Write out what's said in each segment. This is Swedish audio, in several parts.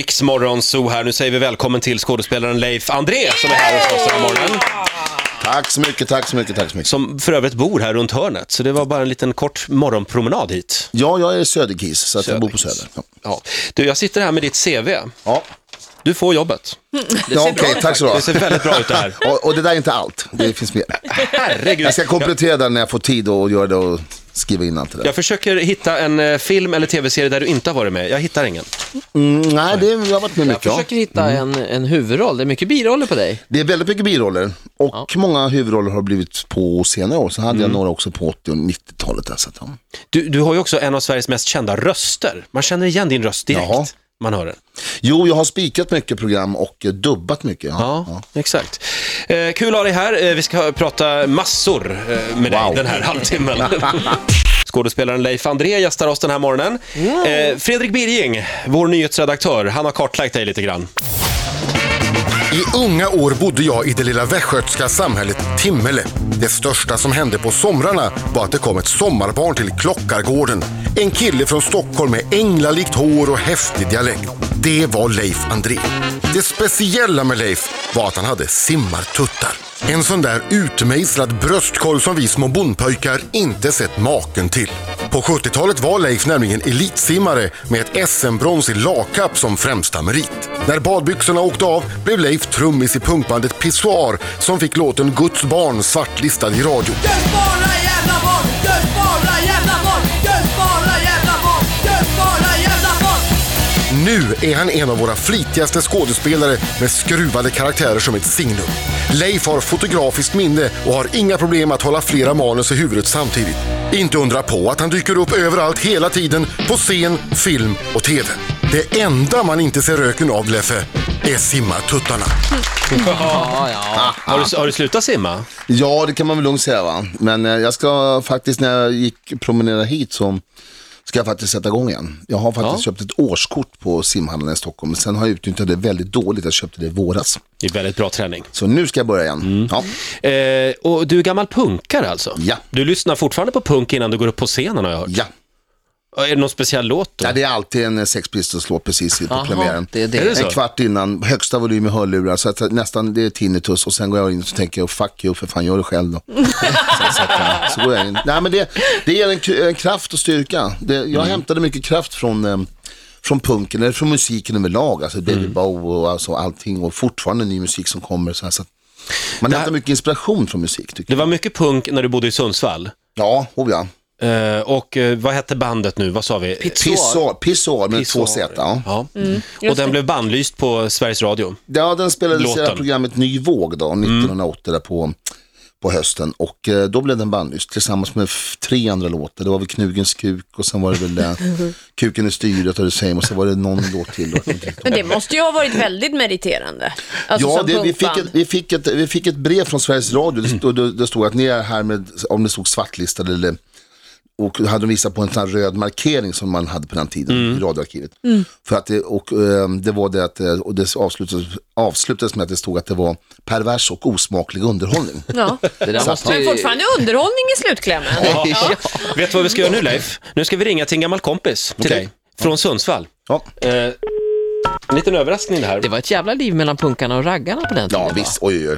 Riksmorgonzoo här. Nu säger vi välkommen till skådespelaren Leif André som är här hos oss den här morgonen. Tack så mycket, tack så mycket, tack så mycket. Som för övrigt bor här runt hörnet, så det var bara en liten kort morgonpromenad hit. Ja, jag är söderkis, så att jag bor på Söderkis. Söder. Ja, Ja. Du, jag sitter här med ditt CV. ja. Du får jobbet. ja okej, tack så Det ser mycket. väldigt bra ut det här. Och, och det där är inte allt, det finns mer. Herregud. Jag ska komplettera den när jag får tid och göra det och skriva in allt det där. Jag försöker hitta en eh, film eller tv-serie där du inte har varit med. Jag hittar ingen. Mm, nej, det, jag har varit med Jag mycket. Ja. Mm. försöker hitta en, en huvudroll. Det är mycket biroller på dig. Det är väldigt mycket biroller och många huvudroller har blivit på senare år. Så hade jag några också på 80 och 90-talet. Där, så att, ja. Du, du har ju också en av Sveriges mest kända röster. Man känner igen din röst direkt. Jaha. Man hör den. Jo, jag har spikat mycket program och eh, dubbat mycket. Ja, exakt. Eh, kul att ha dig här. Eh, vi ska prata massor eh, med dig Wow. den här halvtimmen. Skådespelaren Leif André gästar oss den här morgonen. Eh, Fredrik Birging, vår nyhetsredaktör, han har kartlagt dig lite grann. I unga år bodde jag i det lilla västgötska samhället Timmele. Det största som hände på somrarna var att det kom ett sommarbarn till Klockargården. En kille från Stockholm med änglalikt hår och häftig dialekt. Det var Leif André. Det speciella med Leif var att han hade simmartuttar. En sån där utmejslad bröstkorg som vi små bondpojkar inte sett maken till. På 70-talet var Leif nämligen elitsimmare med ett SM-brons i lagkapp som främsta merit. När badbyxorna åkte av blev Leif trummis i punkbandet Pissoar som fick låten Guds barn svartlistad i radio. Guds bara jävla barn, Guds bara jävla barn, Guds bara jävla barn, Guds bara jävla barn. Nu är han en av våra flitigaste skådespelare med skruvade karaktärer som ett signum. Leif har fotografiskt minne och har inga problem att hålla flera manus i huvudet samtidigt. Inte undra på att han dyker upp överallt hela tiden på scen, film och TV. Det enda man inte ser röken av, Leffe, är simmartuttarna. Ja, ja. Har, du, har du slutat simma? Ja, det kan man väl lugnt säga va. Men eh, jag ska faktiskt, när jag gick promenera hit så ska jag faktiskt sätta igång igen. Jag har faktiskt köpt ett årskort på simhallen i Stockholm, men sen har jag utnyttjat det väldigt dåligt. Jag köpte det i våras. Det är väldigt bra träning. Så nu ska jag börja igen. Ja. Eh, och du är gammal punkare alltså? Ja. Du lyssnar fortfarande på punk innan du går upp på scenen har jag hört. Ja. Och Är det någon speciell låt då? ja, det är alltid en eh, Sex Pistols-låt precis på Jaha, premiären. det är det. Är det så? En kvart innan, högsta volym i hörlurar, så att eh, nästan det är tinnitus och sen går jag in och så tänker jag, "Oh, fuck you, för fan gör det själv då. så, så, att, ja, så går jag in. Nej men det, det ger en, k- en kraft och styrka. Det, jag Mm. hämtade mycket kraft från, eh, från punken, eller från musiken överlag, alltså Mm. David Bowie och alltså, allting och fortfarande ny musik som kommer. Så här, så att, man hämtar mycket inspiration från musik tycker Det jag. var mycket punk när du bodde i Sundsvall. Ja, oh ja. Eh, och eh, vad hette bandet nu? Vad sa vi? Pissoar, pissoar med två Z. Ja. Ja. Mm. Mm. och den blev bannlyst på Sveriges Radio. Ja, den spelades i det här Låten. programmet Ny våg då, 1980 där på, på hösten. Och eh, då blev den bannlyst tillsammans med f- tre andra låtar. Det var väl Knugens kuk och sen var det väl eh, Kuken i styret och det same och sen var det någon låt till. då, jag kommer inte riktigt Men ihåg. det måste ju ha varit väldigt meriterande. Alltså Ja, som det, vi, fick punkband. ett, vi, fick ett, vi fick ett brev från Sveriges Radio. Det, stod, det, det stod att ni är här med, om det stod svartlistade eller och hade de visat på en sån här röd markering som man hade på den tiden i Mm. radioarkivet. För att det, och, eh, det var det att, eh, och det avslutades, avslutades med att det stod att det var pervers och osmaklig underhållning. Ja. Det där måste Men ju... fortfarande underhållning i slutklämmen. Ja. Vet du vad vi ska göra nu Leif? Nu ska vi ringa till en gammal kompis till Okej. dig. Från Sundsvall. Ja, Eh, en liten överraskning det här. Det var ett jävla liv mellan punkarna och raggarna på den tiden. ja va? visst, oj oj oj.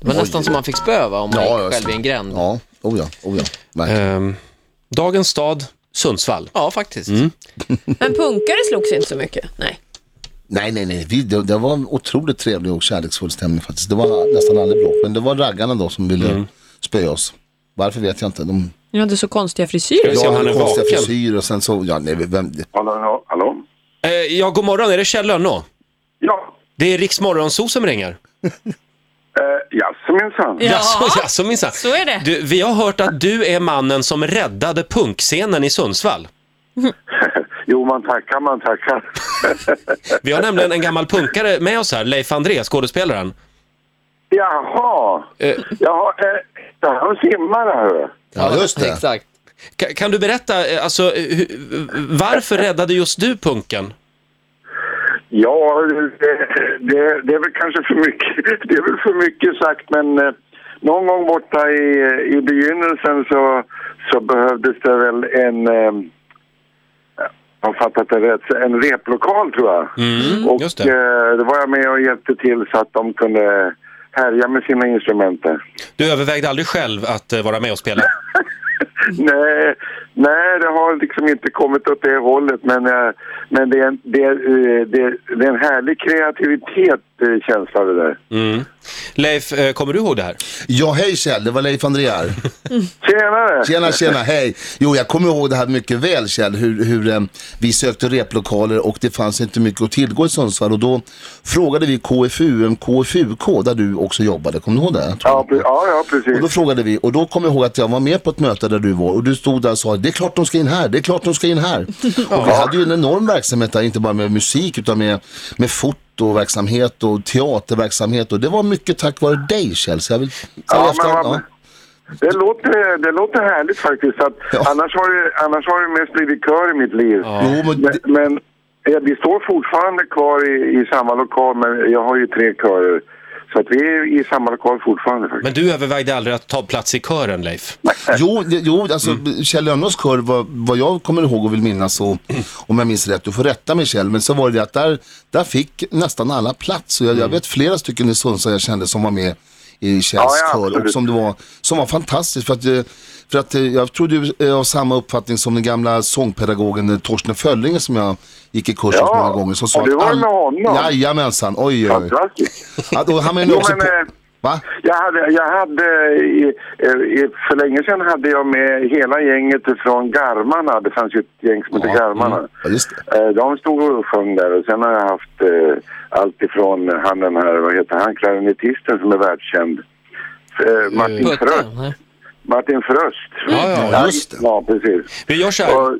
Det var nästan som man fick spö va, om man Ja, gick ja, själv i en gränd. Ja, Ja, oh ja, oh ja. verkligen. Ehm, dagens stad, Sundsvall. faktiskt. Mm. Men punkare slogs inte så mycket. Nej. Nej, nej, nej, vi, det, det var en otroligt trevlig och kärleksfull stämning faktiskt. Det var nästan aldrig bråk, men det var raggarna då som ville Mm. spöa oss. Varför vet jag inte. De, Ni hade så konstiga Ska frisyrer. vi se Jag om han hade är konstiga vaken? frisyrer och sen så, ja nej, vem, Hallå, hallå, hallå? Eh, ja, god morgon. Är det Kjell Lönnå? Ja, Det är Riks Morgonzoo som ringer. eh, jaså minsann. Ja. Jaså, jaså minsann. Så är det. Du, vi har hört att du är mannen som räddade punkscenen i Sundsvall. Jo, man tackar, man tackar. Vi har nämligen en gammal punkare med oss här, Leif André, skådespelaren. Jaha, jaha, eh, det här var simmare, hörru. ja just det. Exakt. Ka- Kan du berätta, eh, alltså, eh, hu- varför räddade just du punken? Ja, det, det, det är väl kanske för mycket, det är väl för mycket sagt, men eh, någon gång borta i, i begynnelsen så, så behövdes det väl en... Eh, har fattat det rätt, en replokal tror jag. Mm, och just det. det. Eh, då var jag med och hjälpte till så att de kunde härja med sina instrument där. Du övervägde aldrig själv att eh, vara med och spela? Nej, nej, det har liksom inte kommit åt det hållet. Men, eh, men det, är en, det, är, eh, det, är- det är en härlig kreativitet, eh, känsla det där. Mm. Leif, eh, kommer du ihåg det här? Ja, hej Kjell, det var Leif André här. Tjenare! Tjena, tjena, hej. Jo, jag kommer ihåg det här mycket väl Kjell, hur, hur eh, vi sökte replokaler och det fanns inte mycket att tillgå i Sundsvall och då frågade vi KFUM, KFUK, där du också jobbade, kommer du ihåg det? Ja, pre- ja, ja, Och då precis. frågade vi och då kom jag ihåg att jag var med på ett möte där du var och du stod där och sa det är klart de ska in här, det är klart de ska in här. Och vi hade ju en enorm verksamhet där, inte bara med musik utan med, med fotoverksamhet och teaterverksamhet och det var mycket tack vare dig Kjell. Så jag vill, så Ja, i men efterhand- vad- Det låter, det låter härligt faktiskt. Att Ja. annars, har det, annars har det mest blivit kör i mitt liv. Jo, men Men, det, men eh, vi står fortfarande kvar i, i samma lokal, men jag har ju tre körer. Så att vi är i samma lokal fortfarande faktiskt. Men du övervägde aldrig att ta plats i kören, Leif? Jo, det- jo alltså, Mm. Kjell Lönnås kör, vad, vad jag kommer ihåg och vill minnas, och, om jag minns rätt, du får rätta mig Kjell, men så var det att där, där fick nästan alla plats. Och jag, Mm. jag vet flera stycken i Sundsvall jag kände som var med i Kjells Ja, ja, kör och absolut. som, det var, som var fantastiskt. För att, eh, för att eh, jag tror du är av samma uppfattning som den gamla sångpedagogen eh, Torsten Föllinge som jag gick i kurs hos Ja, många gånger. Som sa och du att var all- med honom. Jajamensan, oj oj. oj. Fantastiskt! Ja, då hamnar jag nu Jo, också men, på... eh, Va? Jag hade, jag hade i, eh, i, för länge sedan hade jag med hela gänget från Garmarna. Det fanns ju ett gäng som hette Ja, mm. Garmarna. Ja, just det. Eh, De stod och sjöng där och sen har jag haft eh, allt ifrån han den här, vad heter han, klarinettisten som är världskänd. Eh, Martin Fröst. Putten. Martin Fröst. Ja, ja, just det. Ja, precis. Vi gör så här. Och,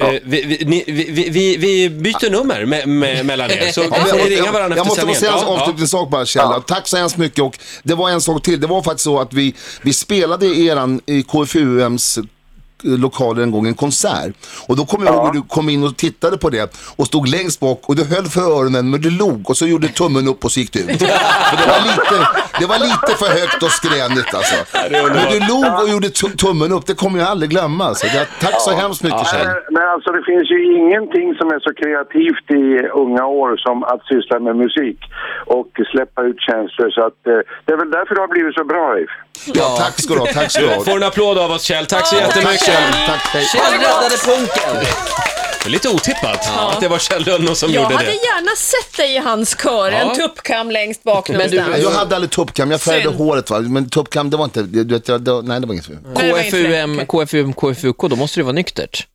Eh, Vi, vi, ni- vi, vi- vi, vi byter nummer me, me, mellan er, så Ja, men får ni jag, ringa jag, varandra jag efter måste få sändningen. säga en Ja, ja. avslutande sak typ bara Kjell. Tack så hemskt mycket och det var en sak till. Det var faktiskt så att vi, vi spelade i eran i KFUMs eh, lokaler en gång en konsert. Och då kommer jag ihåg hur du kom in och tittade på det och stod längst bak och du höll för öronen men du log och så gjorde tummen upp och så gick du ut. För det, var lite, det var lite för högt och skränigt alltså. Men du log och gjorde tu- tummen upp, det kommer jag aldrig glömma. Så det, tack så hemskt mycket Kjell. Nej, men alltså det finns ju ingenting som är så kreativt i unga år som att syssla med musik och släppa ut känslor. Så att, eh, det är väl därför det har blivit så bra, Leif. Ja, tack ska du ha, tack ska du Du ha. får en applåd av oss Kjell, tack så Tack jättemycket. Kjell, tack. Hej. Kjell räddade punken! Det är Lite otippat att det var Kjell Lönnås som Jag gjorde hade det. gärna sett dig i hans kör, en tuppkam längst bak Men du- någonstans. Nej, Jag hade aldrig tuppkam, jag färgade Synd. håret va, men tuppkam det var inte, du vet, jag- det var, nej det var inget fel. Nej, det var inte KFUM, KFUM, KFUK, då måste det vara nyktert.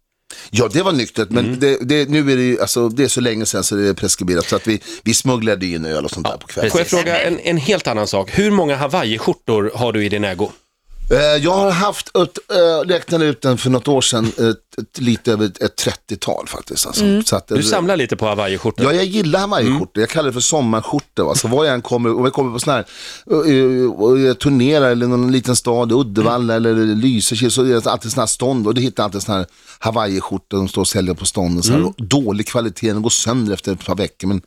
Ja det var nyktert, men det, det, nu är det ju, alltså det är så länge sedan så det är preskriberat så att vi, vi smugglade ju in öl och sånt där på kvällen. Får jag fråga en, en helt annan sak? Hur många hawaiiskjortor har du i din ägo? Eh, jag har haft, ett, eh, räknade ut den för något år sedan, ett, ett, lite över ett, ett 30-tal faktiskt. Alltså. Så att, Du samlar lite på hawaiiskjortor. Ja, jag gillar hawaiiskjortor. Jag kallar det för sommarskjortor. Va? Så var jag än kommer, om jag kommer på sån här, eh, och jag turnerar eller någon liten stad, Uddevalla eller Lysekil, så är det alltid såna här stånd. Och du hittar alltid såna här hawaiiskjortor de står och säljer på stånden. Så här, och Dålig kvalitet, den går sönder efter ett par veckor. Men,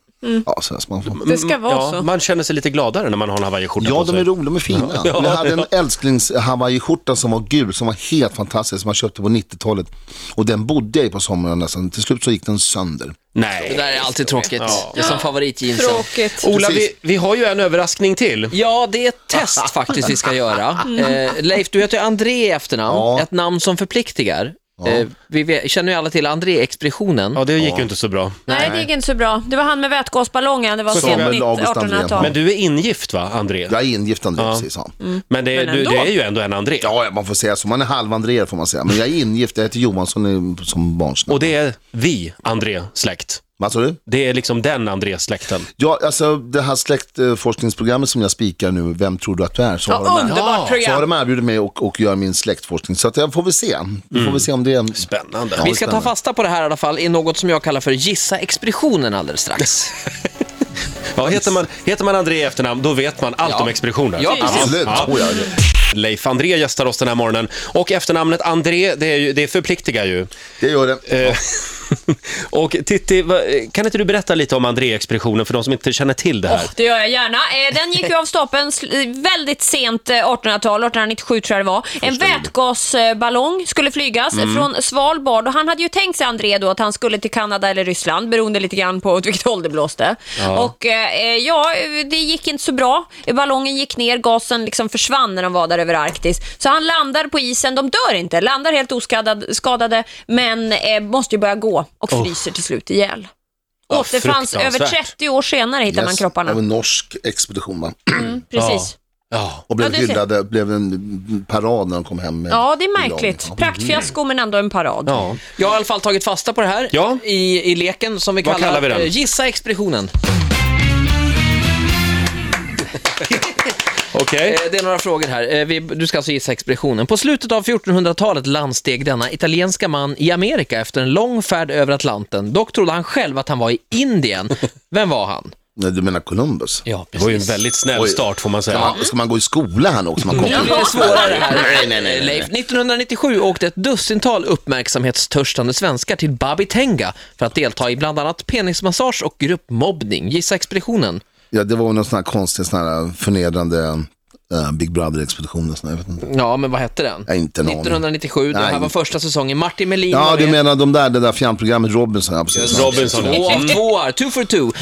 ja, så här, ska man få. Det ska vara Ja, så. man känner sig lite gladare när man har en hawaiiskjorta Ja, på de sig. är roliga, de är fina. Men jag hade en älsklings hawaiiskjorta som var gul, som var helt fantastisk, som jag köpte på 90-talet. Och den bodde jag i på sommaren nästan. Till slut så gick den sönder. Nej. Det där är alltid tråkigt. Ja. Det är som favoritjeansen. Tråkigt. Ola, vi, Precis. vi har ju en överraskning till. Ja, det är ett test faktiskt vi ska göra. Eh, Leif, du heter ju André i efternamn, Ja. ett namn som förpliktigar. Eh, vi vet, känner ju alla till André-expeditionen. Ja, det gick ju inte så bra. Nej, det gick inte så bra. Det var han med vätgasballongen. Det var Samuel sent mitt August Andrén. 1800-tal. Men du är ingift va, André? Jag är ingift André, precis. Ja. Men det, Men du, ändå. det är ju ändå en André. Ja, ja, man får säga så. Man är halvandreer får man säga. Men jag är ingift, jag heter Johansson eh, som barnsnamn. Och det är vi, André-släkt. Vad sa du? Det är liksom den André-släkten. Ja, alltså det här släktforskningsprogrammet som jag spikar nu, Vem tror du att du är? Så, Ja, har, de här, underbart så har program. de erbjudit mig och, och göra min släktforskning. Så att jag får väl se. Vi Mm. får väl se om det är en... Spännande. Ja. Vi ska ta fasta på det här i alla fall i något som jag kallar för Gissa-expeditionen alldeles strax. Ja, heter, man, heter man André i efternamn, då vet man allt om expeditioner. Ja, precis. Absolut, Ja. tror jag. Det- Leif André gästar oss den här morgonen. Och efternamnet André, det, är ju, det förpliktigar ju. Det gör det. Eh, Och Titti, va- kan inte du berätta lite om André-expeditionen för de som inte känner till det här? Åh, det gör jag gärna. Eh, Den gick ju av stapeln sl- väldigt sent eh, 1800-tal, 1897 tror jag det var. En vätgasballong skulle flygas Mm. från Svalbard och han hade ju tänkt sig, André, då, att han skulle till Kanada eller Ryssland beroende lite grann på åt vilket håll det blåste. Och eh, ja, det gick inte så bra. Ballongen gick ner, gasen liksom försvann när de var där över Arktis. Så han landar på isen, de dör inte, landar helt oskadade skadade, men eh, måste ju börja gå och fryser till slut ihjäl. Ja, Återfanns över fruktansvärt. 30 år senare hittar man kropparna. Av en norsk expedition va? Precis. Ja. Och blev Ja, du ser. hyllade, blev en parad när de kom hem. med Ja, det är hyllade. märkligt. Ja. Praktfiasko men ändå en parad. ja. Jag har i alla fall tagit fasta på det här Ja. i, i leken som vi Vad kallar, kallar vi den? eh, Gissa expeditionen. Okej. Eh, Det är några frågor här. Eh, vi- Du ska alltså gissa expeditionen. På slutet av 1400-talet landsteg denna italienska man i Amerika efter en lång färd över Atlanten. Dock trodde han själv att han var i Indien. Vem var han? Nej, du menar Columbus? Ja, Det var ju en väldigt snäll Oj. start får man Ska säga. man, ska man gå i skola här nu också? Man Nu blir kommer det svårare här. Nej, nej, nej, nej. Leif, 1997 åkte ett dussintal uppmärksamhetstörstande svenskar till Babitenga för att delta i bland annat penismassage och gruppmobbning. Gissa expeditionen. ja, det var någon sån här konstig, sån här förnedrande eh, Big Brother-expedition. och sån här, Jag vet inte. Ja, men vad hette den? Jag har inte en aning. 1997, det här Nej. var första säsongen. Martin Melin Ja, var du med. menar de där, det där fjärrprogrammet Robinson? Ja, precis. Robinson, ja. Två av tvåar, two for two.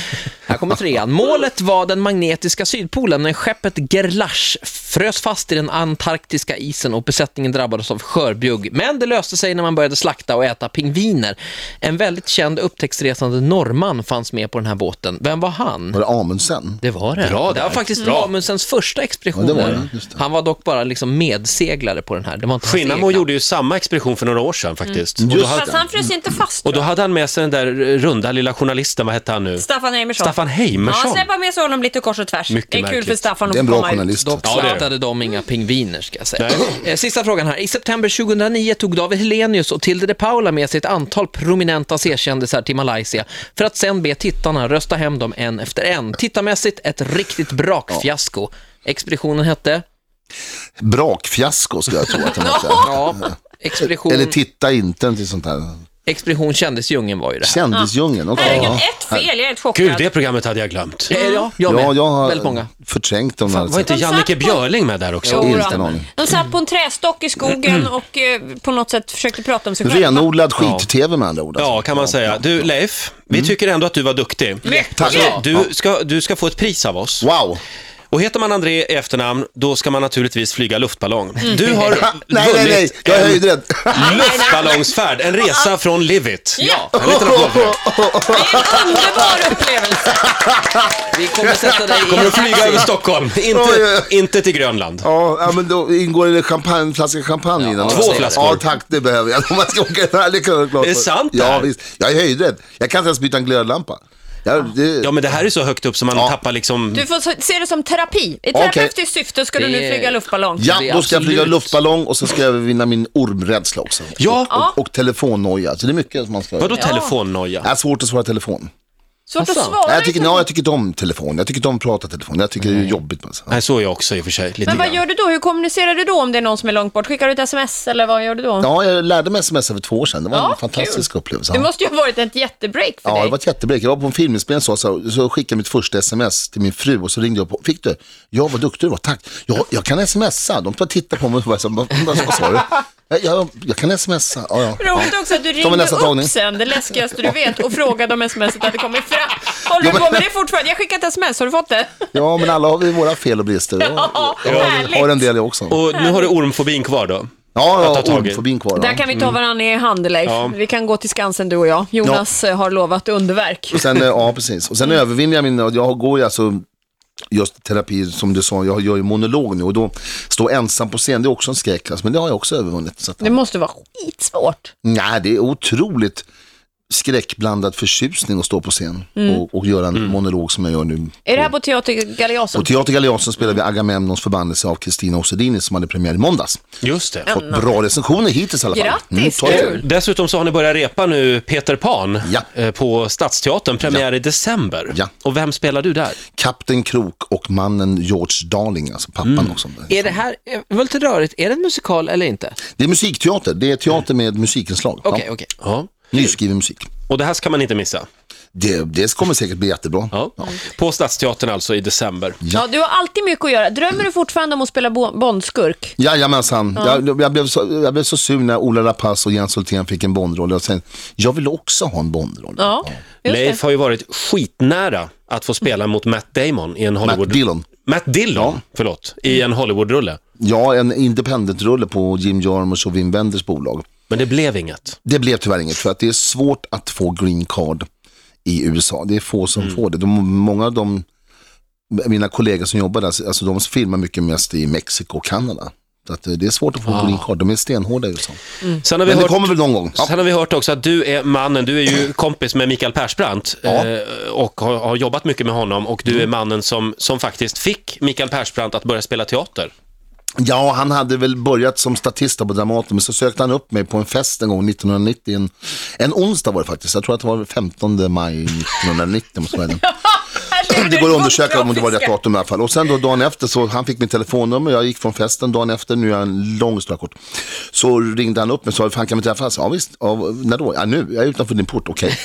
Här kommer trean. Målet var den magnetiska sydpolen när skeppet Gerlach frös fast i den antarktiska isen och besättningen drabbades av skörbjugg. Men det löste sig när man började slakta och äta pingviner. En väldigt känd upptäcktsresande norrman fanns med på den här båten. Vem var han? Var det Amundsen? Det var det. Bra det var där. faktiskt Bra. Amundsens första expedition. Ja, det var där. det. Just det. Han var dock bara liksom medseglare på den här. Det var inte hans Skinnamo egna. gjorde ju samma expedition för några år sedan faktiskt. Och, då Mm. Just hade, Fast han frös inte fast. och då hade han med sig den där runda lilla journalisten, vad hette han nu? Staffan Heimersson. Staffan Ja, Heimersson. släpp bara med sig honom lite kors och tvärs. Mycket det är kul märkligt. för Staffan att Det är en få bra komma ut. journalist. Dock Ja, det är det. slaktade de inga pingviner ska jag säga. Eh, Sista frågan här. I september 2009 tog David Hellenius och Tilde de Paula med sig ett antal prominenta C-kändisar till Malaysia för att sen be tittarna rösta hem dem en efter en. Tittarmässigt ett riktigt brakfiasko. Expeditionen hette? Brakfiasko skulle jag tro att den hette. Ja, Mm. expedition, Eller Titta inte till sånt här. expedition Kändisdjungeln var ju det här. Kändisdjungeln, okej. Herregud, Ja. ett fel. Jag är helt chockad. Gud, det programmet hade jag glömt. Eh, Ja, jag med. Ja, jag har Väldigt många. förträngt dem. Fan, var inte De satt Jannike på- Björling med där också? Jo, Inte då. en aning. De satt på en trästock i skogen och eh, på något sätt försökte prata om sig själva. Renodlad skit-tv med andra ord. alltså. Ja, kan man säga. Du, Leif, vi tycker ändå att du var duktig. Mm. Tack. Du ska, du ska få ett pris av oss. Wow. Och heter man André i efternamn, då ska man naturligtvis flyga luftballong. Du har Mm. Nej, nej, nej. vunnit Jag är en höjdrädd. luftballongsfärd, en resa från Livit. Ja, En liten applåd för det. det är en underbar upplevelse. Vi kommer sätta dig Kommer i... att flyga över Stockholm, Oj, inte, oj. inte till Grönland. Ja, ja, men då ingår det champagne, en flaska champagne innan. två flaskor. Ja, tack, det behöver jag. Om man ska åka där, det kan jag klart. Det är sant det Ja, här. visst. Jag är höjdrädd. Jag kan inte ens byta en glödlampa. Jag, det, Ja, men det här är så högt upp som man Ja. tappar liksom... Du får så- se det som terapi. I terapeutiskt syfte ska du nu Det är- flyga luftballong. ja, det är då ska jag flyga absolut. luftballong och så ska jag övervinna min ormrädsla också. Ja. Och, och telefonnoja. Så det är mycket som man ska Vadå göra. telefonnoja? Det är svårt att svara telefon. Svårt att Asså. svara. liksom. Nej, jag, tycker, nej, jag tycker inte om telefon. Jag tycker inte om att prata telefon. Jag tycker det är jobbigt. Alltså. Nej, så är jag också i och för sig. Lite Men vad grann. gör du då? Hur kommunicerar du då om det är någon som är långt bort? Skickar du ett sms eller vad gör du då? Ja, jag lärde mig sms för två år sedan. Det var Ja, en fantastisk upplevelse. Det måste ju ha varit ett jättebreak för Ja, dig. det var ett jättebreak. Jag var på en filminspelning så, så, så skickade jag mitt första sms till min fru och så ringde jag på. Fick du? Ja, vad duktig du var. Tack. Jag, jag kan smsa. De bara tittade på mig och bara, så, vad, vad vad sa du? Jag, jag, jag kan smsa. Ja, ja. Roligt också att du Som en ringde upp nästa tagning. sen, det läskigaste du vet, och frågade om smset hade kommit fram. Håller Ja, du men- på med det fortfarande? Jag skickade ett sms, har du fått det? ja, men alla har vi våra fel och brister. Jag, Ja, jag, har- härligt. har en del jag också. Och nu har du ormfobin kvar då? Ja, ta ja, tag i. ormfobin kvar. Där Ja. kan vi ta varandra i hand, Leif. Vi kan gå till Skansen du och jag. Jonas eh, har lovat underverk. Och sen, eh, ja, precis. Och sen övervinner jag min, jag går ju alltså just terapi som du sa, jag gör ju monolog nu och då stå ensam på scen, det är också en skräck, alltså, men det har jag också övervunnit. Så att, Det måste vara skitsvårt. Nej, det är otroligt skräckblandad förtjusning att stå på scen och, och göra en monolog som jag gör nu. Är det här på Teater Galeasen? På Teater Galeasen spelade vi Agamemnons förbannelse av Kristina Ossedini som hade premiär i måndags. Just det. Fått bra recensioner hittills i alla fall. Grattis, ta det. kul. Eh, Dessutom så har ni börjat repa nu Peter Pan Ja. eh, på Stadsteatern, premiär i december. Ja. Och vem spelar du där? Kapten Krok och mannen George Darling, alltså pappan också. Är det här, eh, det var lite rörigt, är det en musikal eller inte? Det är musikteater, det är teater med musikinslag. Okej, Ja. okej. Ja. Nyskriven musik. Och det här ska man inte missa. Det, det kommer säkert bli jättebra. Ja. På Stadsteatern alltså i december. Ja, du har alltid mycket att göra. Drömmer du fortfarande om att spela bo- Bondskurk? Jajamensan. Jag, jag, blev så, jag blev så sur när Ola Rapace och Jens Hultén fick en Bondroll. Jag tänkte, jag vill också ha en Bondroll. Ja, just det. Leif har ju varit skitnära att få spela mot Matt Damon i en Hollywood... Dillon. Matt Dillon, förlåt. I en Hollywood-rulle. Ja, en independent-rulle på Jim Jarmusch och Wim Wenders bolag. Men det blev inget. Det blev tyvärr inget för att det är svårt att få green card i USA. Det är få som Mm. får det. De, många av de, mina kollegor som jobbar där, alltså de filmar mycket mest i Mexiko och Kanada. Så att eh, det är svårt att få green card. De är stenhårda i USA. Sen Ah. har vi Men det hört... kommer väl någon gång. Sen har vi hört också att du är mannen, du är ju kompis med Mikael Persbrandt Ja. Mm. eh, och har, har jobbat mycket med honom och du är mannen som, som faktiskt fick Mikael Persbrandt att börja spela teater. Ja, han hade väl börjat som statist på Dramaten, men så sökte han upp mig på en fest en gång 1990. En, en onsdag var det faktiskt. Jag tror att det var 15 maj 1990. måste vara det. Det går att undersöka om det var rätt datum i alla fall. Och sen då dagen efter, så han fick mitt telefonnummer, jag gick från festen dagen efter, nu är jag en lång historia kort. Så ringde han upp mig och sa, fan kan vi träffas? Ja visst, ja, när då? Ja nu, jag är utanför din port, okej.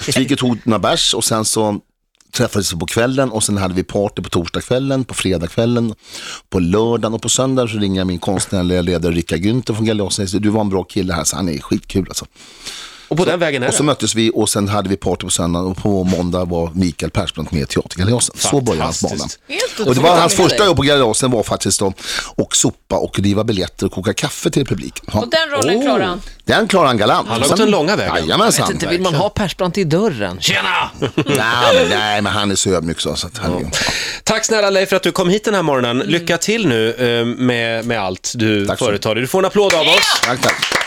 Så vi gick och tog några bärs och sen så träffades vi på kvällen och sen hade vi party på torsdagskvällen, på fredagskvällen, på lördagen och på söndagen så ringer jag min konstnärliga ledare Rickard Günther från Galeasen och säger, du var en bra kille här, så han är skitkul alltså. Och på den vägen är Och så det. möttes vi och sen hade vi party på söndagen och på måndag var Mikael Persbrandt med i Teatergaleasen. Så började hans bana. Fantastiskt. Helt Och det var otroligt hans med första dig. jobb på Galeasen var faktiskt att och sopa och riva biljetter och koka kaffe till publiken. Ja. Och den rollen Oh. klarar han. Den klarar han galant. Han har gått Sen- den långa vägen. Jag Jajamensan. vet inte, vill man ha Persbrandt i dörren? Tjena! nej, men, nej, men han är så ödmjuk så. så att han, ja. Tack snälla Leif för att du kom hit den här morgonen. Lycka till nu eh, med, med allt du Mm. Tack så företar dig. Du får en applåd av oss. Tack, tack.